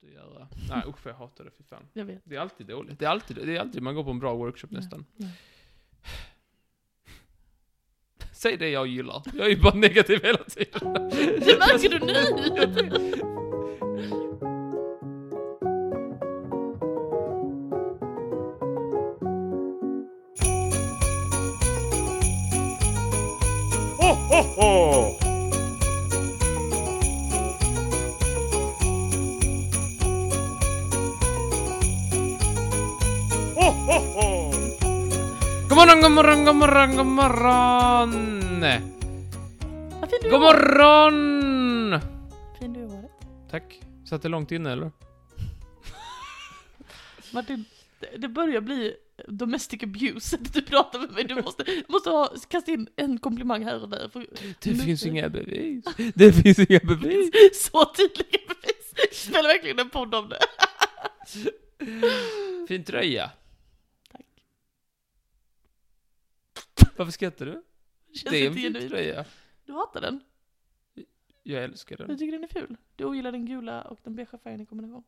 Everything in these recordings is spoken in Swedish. båda. Nej usch jag hatar det, fy fan. Jag vet. Det är alltid dåligt. Det är alltid, det är alltid man går på en bra workshop nästan. Ja. Säg det jag gillar. Jag är ju bara negativ hela tiden. Det märker du nu! Ho, ho, ho! Ho, ho, ho! God morgon, god morgon, god morgon, god morgon! Vad fin du är. God morgon! Fin du är i håret. Tack. Satt det långt inne eller? Martin, det- det börjar bli domestic abuse att du pratar med mig. Du måste, måste ha, kasta in en komplimang här och där. För Det Men- finns inga bevis. Det finns inga bevis. så tydliga bevis. Det Spelar verkligen en podd om det. Fin tröja. Tack. Varför skrattar du? Känns Det är en inte fin genuint. tröja. Du hatar den. Jag älskar den. Du tycker den är ful. Du ogillar den gula och den beigea färgen i kombination.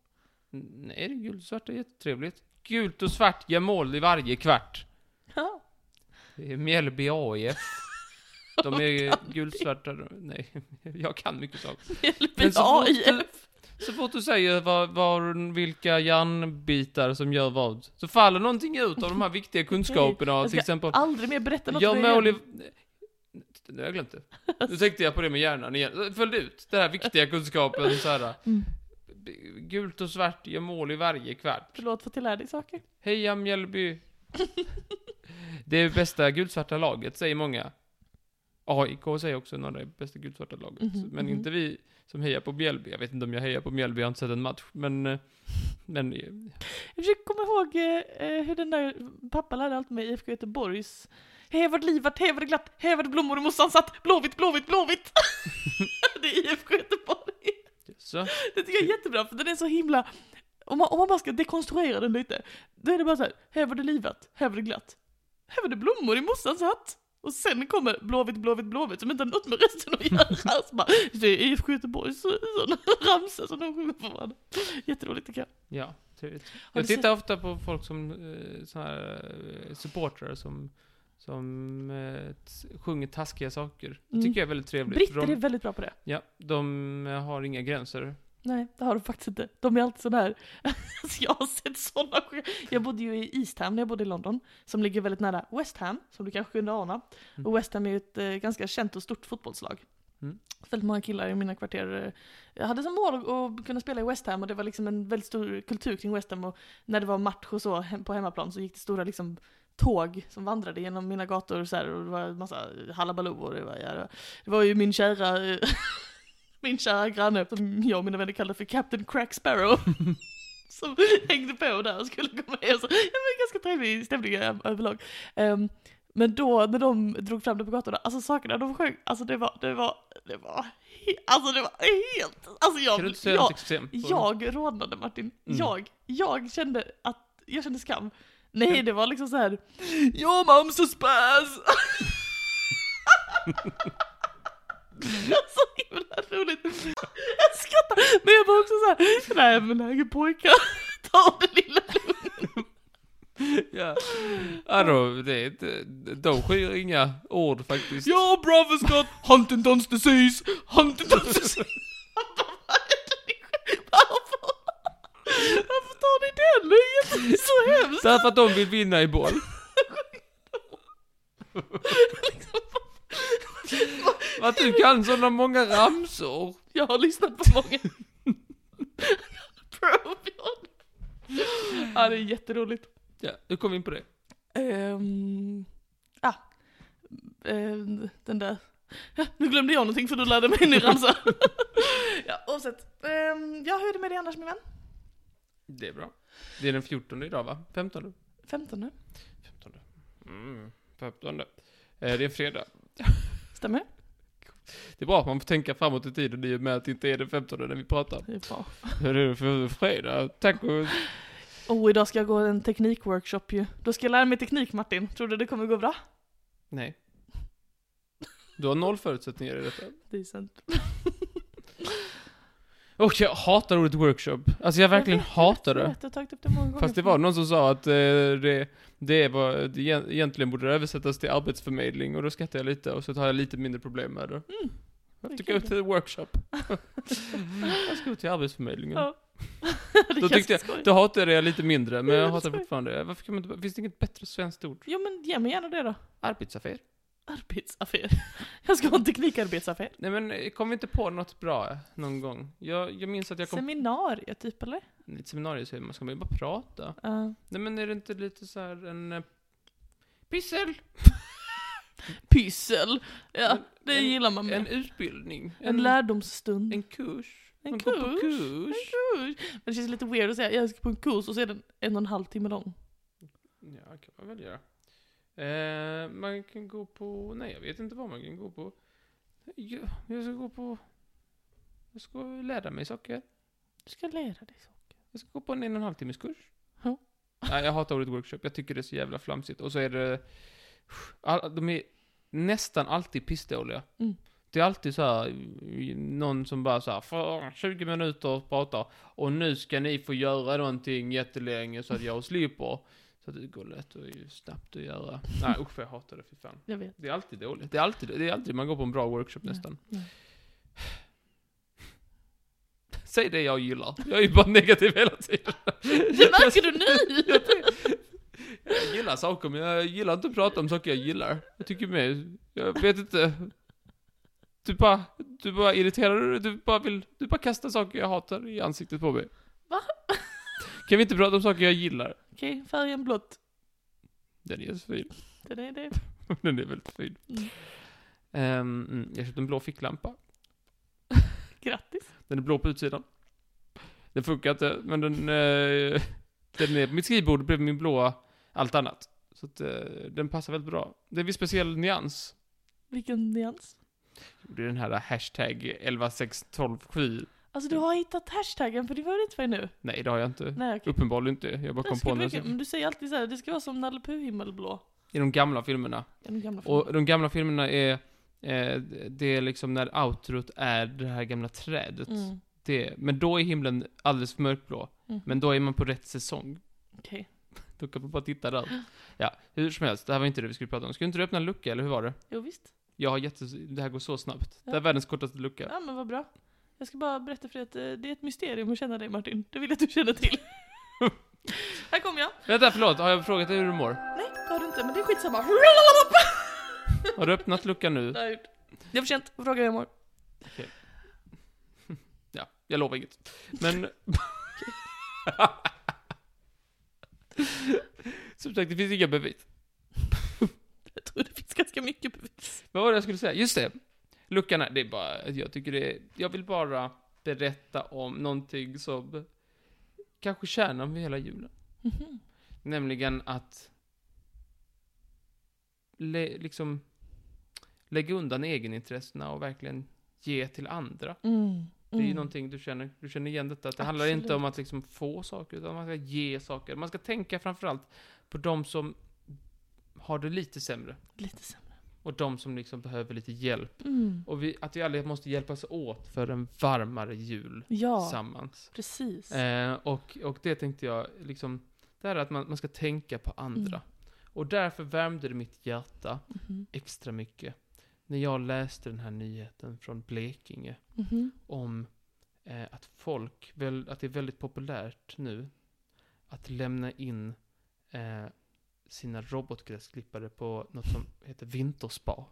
Nej, det är gult och svart är jättetrevligt. Gult och svart gör mål i varje kvart. Ja. Det är Mjällby AIF. De är ju gulsvarta. Nej, jag kan mycket saker. Mjällby Men så fort du- AIF. Så fort du säger var, var, vilka järnbitar som gör vad, så faller någonting ut av de här viktiga kunskaperna. Jag Till ska exempel, Aldrig mer berätta något gör för dig mål i... igen. Det har jag glömt det. Nu tänkte jag på det med hjärnan igen. Följ ut den här viktiga kunskapen så här. Mm. Gult och svart gör mål i varje kvart. Förlåt för att jag lär dig saker. Heja Mjällby! det är bästa gulsvarta laget, säger många. AIK säger också några är bästa gulsvarta laget. Mhm, men mhm. inte vi som hejar på Mjällby. Jag vet inte om jag hejar på Mjällby, jag har inte sett en match. Men... eh, men eh, Jag försöker komma ihåg eh, eh, hur den där pappan lärde allt med IFK Göteborgs Hävard livat, hävard glatt, hävard blommor i mossan satt, blåvitt, blåvitt, blåvitt! det är IFK Göteborg. så, Det tycker jag är jättebra, för den är så himla... Om man, om man bara ska dekonstruera den lite, då är det bara så här, här var det livat, här var det glatt. Här var det blommor i mossans hatt. Och sen kommer blåvitt, blåvitt, blåvitt, som inte har något med resten att göra. Så bara, det är IFK Göteborgs sån ramsa som de sjunger för varandra. Jätteroligt tycker jag. ja. trevligt. Har Jag du sett- tittar ofta på folk som, eh, så här, eh, supportrar som, som eh, t- sjunger taskiga saker. Det Mm. tycker jag är väldigt trevligt. för Britter är de, väldigt bra på det. ja, de eh, har inga gränser. Nej, det har de faktiskt inte. De är alltid sådana här. Alltså, jag har sett sådana sjuka- Jag bodde ju i East Ham när jag bodde i London, som ligger väldigt nära West Ham, som du kanske kunde ana. Mm. Och West Ham är ju ett eh, ganska känt och stort fotbollslag. Mm. Väldigt många killar i mina kvarter eh, jag hade som mål att- att kunna spela i West Ham och det var liksom en väldigt stor kultur kring West Ham och när det var match och så hem- på hemmaplan så gick det stora liksom tåg som vandrade genom mina gator och så här, och det var en massa hallabaloo och det var, ja, det var- det var ju min kära eh, min kära granne, som jag och mina vänner kallade för Captain Crack Sparrow. som hängde på där och skulle gå med. Och så, det var en ganska trevlig stämning ö- överlag. Ehm, men då när de drog fram det på gatorna, alltså sakerna de sjöng, alltså det var, det var, det var, he- alltså det var helt, alltså jag, Kan du inte säga jag, något exempel? jag rodnade Martin. Mm. Jag, jag kände att, jag kände skam. Nej det var liksom så här. Your mom's a spaz! så himla roligt. Jag skrattar, men jag var också så här. nej men herregud pojkar, ta det lilla lugnt. Ja, ja då, det, det, de skyr inga ord faktiskt. Your brother's got Huntington's disease, Huntington's disease. Varför? Varför tar ni den? Det är jätte- så hemskt. Därför att de vill vinna i boll. Liksom. Att du kan sådana många ramsor. Jag har lyssnat på många Probion. Ja, det är jätteroligt. Ja, du kom vi in på det. Um, ah, ehm, den där. Ja, nu glömde jag någonting för du lärde mig en ny ramsa. ja, oavsett. Um, ja, hur är det med dig annars min vän? Det är bra. Det är den 14 idag va? 15? 15 nu, 15. Mm, 15. Eh, det är fredag. stämmer det? Det är bra att man får tänka framåt i tiden i och med att det inte är den 15 när vi pratar. Det är bra. Hur är det för fredag? Tack och... Oh, idag ska jag gå en teknikworkshop ju. Då ska jag lära mig teknik Martin. Tror du det kommer gå bra? Nej. Du har noll förutsättningar i detta. Det är sant. Och jag hatar ordet workshop. Alltså jag verkligen vet, hatar Jag det. vet, jag har tagit upp det många gånger. Fast det var någon som sa att eh, det, det var, det egent- egentligen borde det översättas till arbetsförmedling och då skrattar jag lite och så tar jag lite mindre problem med det. Mm. Jag det tycker är ut kul. till workshop. jag ska ut till arbetsförmedlingen. Ja. det Då är tyckte ganska jag, skoj. då hatade jag det lite mindre, men Ja, jag det hatar ska jag. fortfarande Varför kan man inte, finns det inget bättre svenskt ord? Jo men ge mig gärna det då. Arbetsaffär? Arbetsaffär. Jag ska ha en teknikarbetsaffär. Nej men, eh, kom vi inte på något bra någon gång? Jag, jag minns att jag kom... Seminarier typ eller? I ett seminarium säger man, ska man ju bara prata? Uh, Nej men är det inte lite så här en... eh, Pyssel! pyssel. Ja, det En- gillar man med. En En, utbildning. lärdomsstund. En kurs. En man går på kurs. En kurs. kurs. Men det känns lite weird att säga jag ska på en kurs och så är den en och en halv timme lång. Ja, kan man väl göra. Eh, man kan gå på... Nej, jag vet inte vad man kan gå på. Jag, jag ska gå på... Jag ska lära mig saker. Du ska lära dig saker. Jag ska gå på en en och en halv timmes kurs. Ja. Nej, jag hatar ordet workshop. Jag tycker det är så jävla flamsigt. Och så är det... All, de är nästan alltid pissdåliga. Mm. Det är alltid så här, någon som bara så här, för 20 minuter och pratar och nu ska ni få göra någonting jättelänge så att jag slipper. Så att det går lätt och är snabbt att göra. Nej usch jag hatar det, fy fan. Jag vet. Det är alltid dåligt. Det är alltid, det är alltid man går på en bra workshop Ja. nästan. Ja. Säg det jag gillar. Jag är ju bara negativ hela tiden. Det märker du nu! Jag gillar saker, men jag gillar inte att prata om saker jag gillar. Jag tycker mer, jag vet inte. Du bara, du bara irriterar dig, du bara vill, du bara kastar saker jag hatar i ansiktet på mig. Va? Kan vi inte prata om saker jag gillar? Okej, färgen blått. Den är så fin. Den är det. Den är väldigt fin. Mm. Ehm, mm, jag köpte en blå ficklampa. Grattis. Den är blå på utsidan. Den funkar inte, men den, eh, den är på mitt skrivbord bredvid min blåa allt annat. Så att, eh, den passar väldigt bra. Det är en viss speciell nyans. Vilken nyans. gjorde den här hashtag 116127. Alltså du har hittat hashtaggen för det var det inte för nu. Nej, det har jag inte. Nej okej. Uppenbarligen inte. Jag bara Det kom ska Mm. på bli den kul. Men du säger alltid så här, det ska vara som Nalle Puh himmelblå. i de gamla filmerna. Den gamla Och de gamla filmerna är, eh, det är liksom när outrot är det här gamla trädet. mm. Det, men då är himlen alldeles för mörkblå. Mm. Men då är man på rätt säsong. Okej. Då kan man bara titta där. Ja, hur som helst, det här var inte det vi skulle prata om. Skulle inte du öppna en lucka, eller hur var det? Jo visst. Jag har jätte... Det här går så snabbt. Det här Ja. är världens kortaste lucka. Ja men vad bra. Jag ska bara berätta för dig att eh, det är ett mysterium att känna dig Martin. Det vill jag att du känner till. Här kommer jag. Vänta, förlåt. Har jag frågat dig hur du mår? Nej, det har du inte. Men det är skitsamma. Har du öppnat luckan nu? Det har jag gjort. Det är för sent. Fråga hur jag mår. Ja, jag lovar inget. Men... Som sagt, det finns inga bevis. Jag tror det finns ganska mycket bevis. Vad var det jag skulle säga? Just det! Luckan här, det är bara, jag tycker det är, jag vill bara berätta om någonting som kanske kärnan med hela julen. Mhm. Nämligen att le, liksom lägga undan egenintressena och verkligen ge till andra. Mm. Det är ju Mm. någonting du känner, du känner igen detta, att det handlar inte om att liksom få saker, utan man ska ge saker. Man ska tänka framförallt på de som har det lite sämre, Lite sämre. och de som liksom behöver lite hjälp. Mm. Och vi, att vi alla måste hjälpas åt för en varmare jul Ja, tillsammans. precis. Eh, och, och det tänkte jag, liksom, det här är att man, man ska tänka på andra. Och därför värmde det mitt hjärta Mhm. extra mycket när jag läste den här nyheten från Blekinge Mhm. om eh, att folk, väl, att det är väldigt populärt nu att lämna in eh, sina robotgräsklippare på något som heter vinterspa.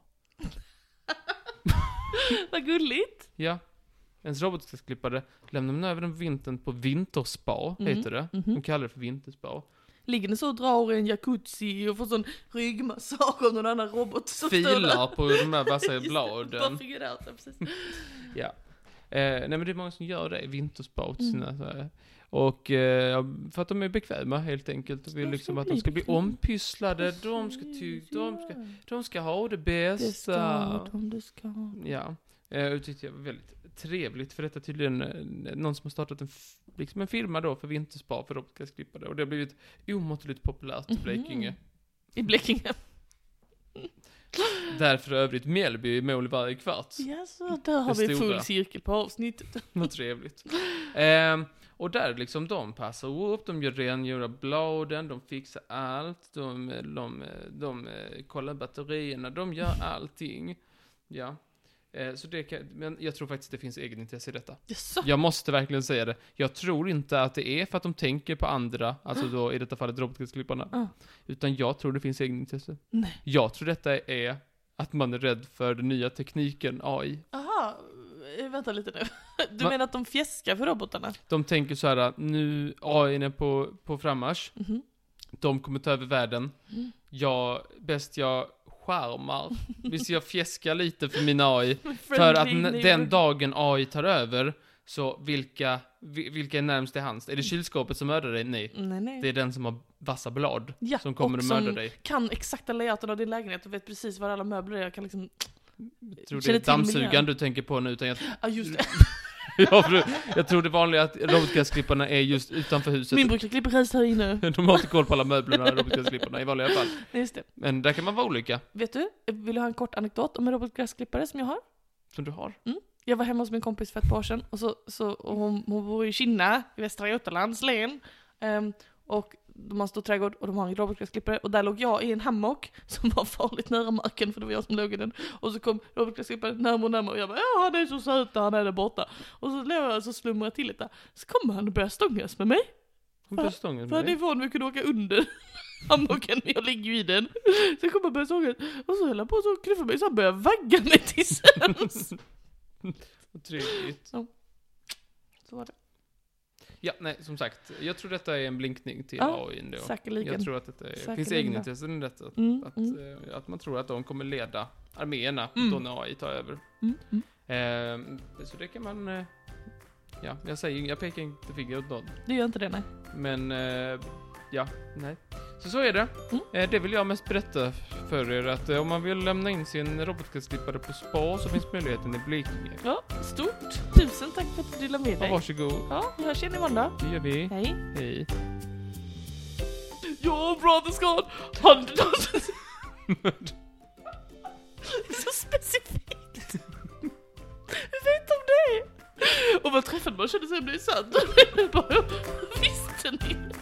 Vad gulligt. Ja, ens robotgräsklippare lämnar man över den vintern på vinterspa, Mhm, heter det. mhm. De kallar det för vinterspa. Ligger ni så och drar i en jacuzzi och får sån ryggmassage av någon annan robot som står där? Filar på de här vassa Just det, bladen. Bara figurerar ut det, precis. Eh, nej men det är många som gör det, vinterspa åt Mm. sina så här. Och eh, för att de är bekväma helt enkelt och vill De ska liksom att bli de ska bli bekväma. ompysslade, de ska, ty- de ska De ska ha det bästa. om du ska. Ja. Eh, och Det tyckte jag var väldigt trevligt, för detta är tydligen eh, någon som har startat en, f- liksom en firma då för vinterspa för robotgräsklippare. Mhm. Och det har blivit omåttligt populärt i Blekinge. I Blekinge. Där för övrigt Mjällby är mål varje kvart. Ja, så där har vi stora. full cirkel på avsnittet. Vad trevligt. Ehm, och där liksom, de passar upp, de gör rengöra bladen, de fixar allt, de, de, de, eh, kollar batterierna, de gör allting. Ja. Eh, så det kan, men jag tror faktiskt det finns egenintresse i detta. Jaså? Jag måste verkligen säga det. Jag tror inte att det är för att de tänker på andra, alltså då i detta fallet robotgräsklipparna. Ja. Utan jag tror det finns egenintresse. Nej. Jag tror detta är att man är rädd för den nya tekniken, AI. Aha, eh, vänta lite nu. Du Va? menar att de fjäskar för robotarna? De tänker så här, nu AI är på, på frammarsch, Mhm. de kommer ta över världen. Mm. Jag, bäst jag skärmar. Visst jag fjäskar lite för min AI. För Friendly att n- den neighborhood. dagen AI tar över, så vilka, vi- vilka är närmst till hands? Är det kylskåpet som mördar dig? Nej. Nej, nej. Det är den som har vassa blad Ja, som kommer och att mörda som dig. kan exakta layouten av din lägenhet och vet precis var alla möbler är. Jag kan liksom... Jag tror det känner är till dammsugaren miljön. du tänker på nu, utan jag, Ja, just det. jag, tror, jag tror det vanliga är att robotgräsklipparna är just utanför huset. Min brukar klippa gräs här inne. De har inte koll på alla möblerna, robotgräsklipparna i vanliga fall. Nej, just det. Men där kan man vara olika, Vet du, vill du ha en kort anekdot om en robotgräsklippare som jag har? som du har. Jag var hemma hos min kompis för ett par år sedan och, så, så, och hon, hon bor i Kinna i Västra Götalands län. Ehm, och de har en stor trädgård och de har en robotgräsklippare och där låg jag i en hammock som var farligt nära marken för det var jag som låg i den. Och så kom robotgräsklipparen närmare och närmare och jag bara ja han är så söt han är där borta. Och så låg jag och så slumrade jag till lite. Så kommer han och börjar stångas med mig. Hon blir stången med För han är dig. van vid att kunna åka under hammocken, men jag ligger ju i den. Så jag kommer och börjar såga, och så höll han på och så knuffade mig så han började vagga mig till sömns. Vad Trevligt. Så var det. Ja, nej, som sagt. Jag tror detta är en blinkning till Ja, AI ändå. Säkerligen. Jag tror att detta är, finns Säkerligen. egenintressen i detta. Mm, Att, mm, eh, att man tror att de kommer leda arméerna Mm. då när AI tar över. mm, mm. Ehm, så det kan man... eh, ja, jag säger jag pekar inte finger åt någon. Du gör inte det nej. Men, eh, ja, nej. Så så är det. Mm. Eh, det vill jag mest berätta för er att eh, om man vill lämna in sin robotgräsklippare på spa så finns möjligheten i Blekinge. Ja, stort. Tusen tack för att du delade med Ja, dig. varsågod. Ja, vi hörs igen imorgon då. Det gör vi. Hej. Hej. Your brother's gone. Han Så specifikt. Hur vet de det? Och man träffade man kände sig blygsand. Bara, Visste ni?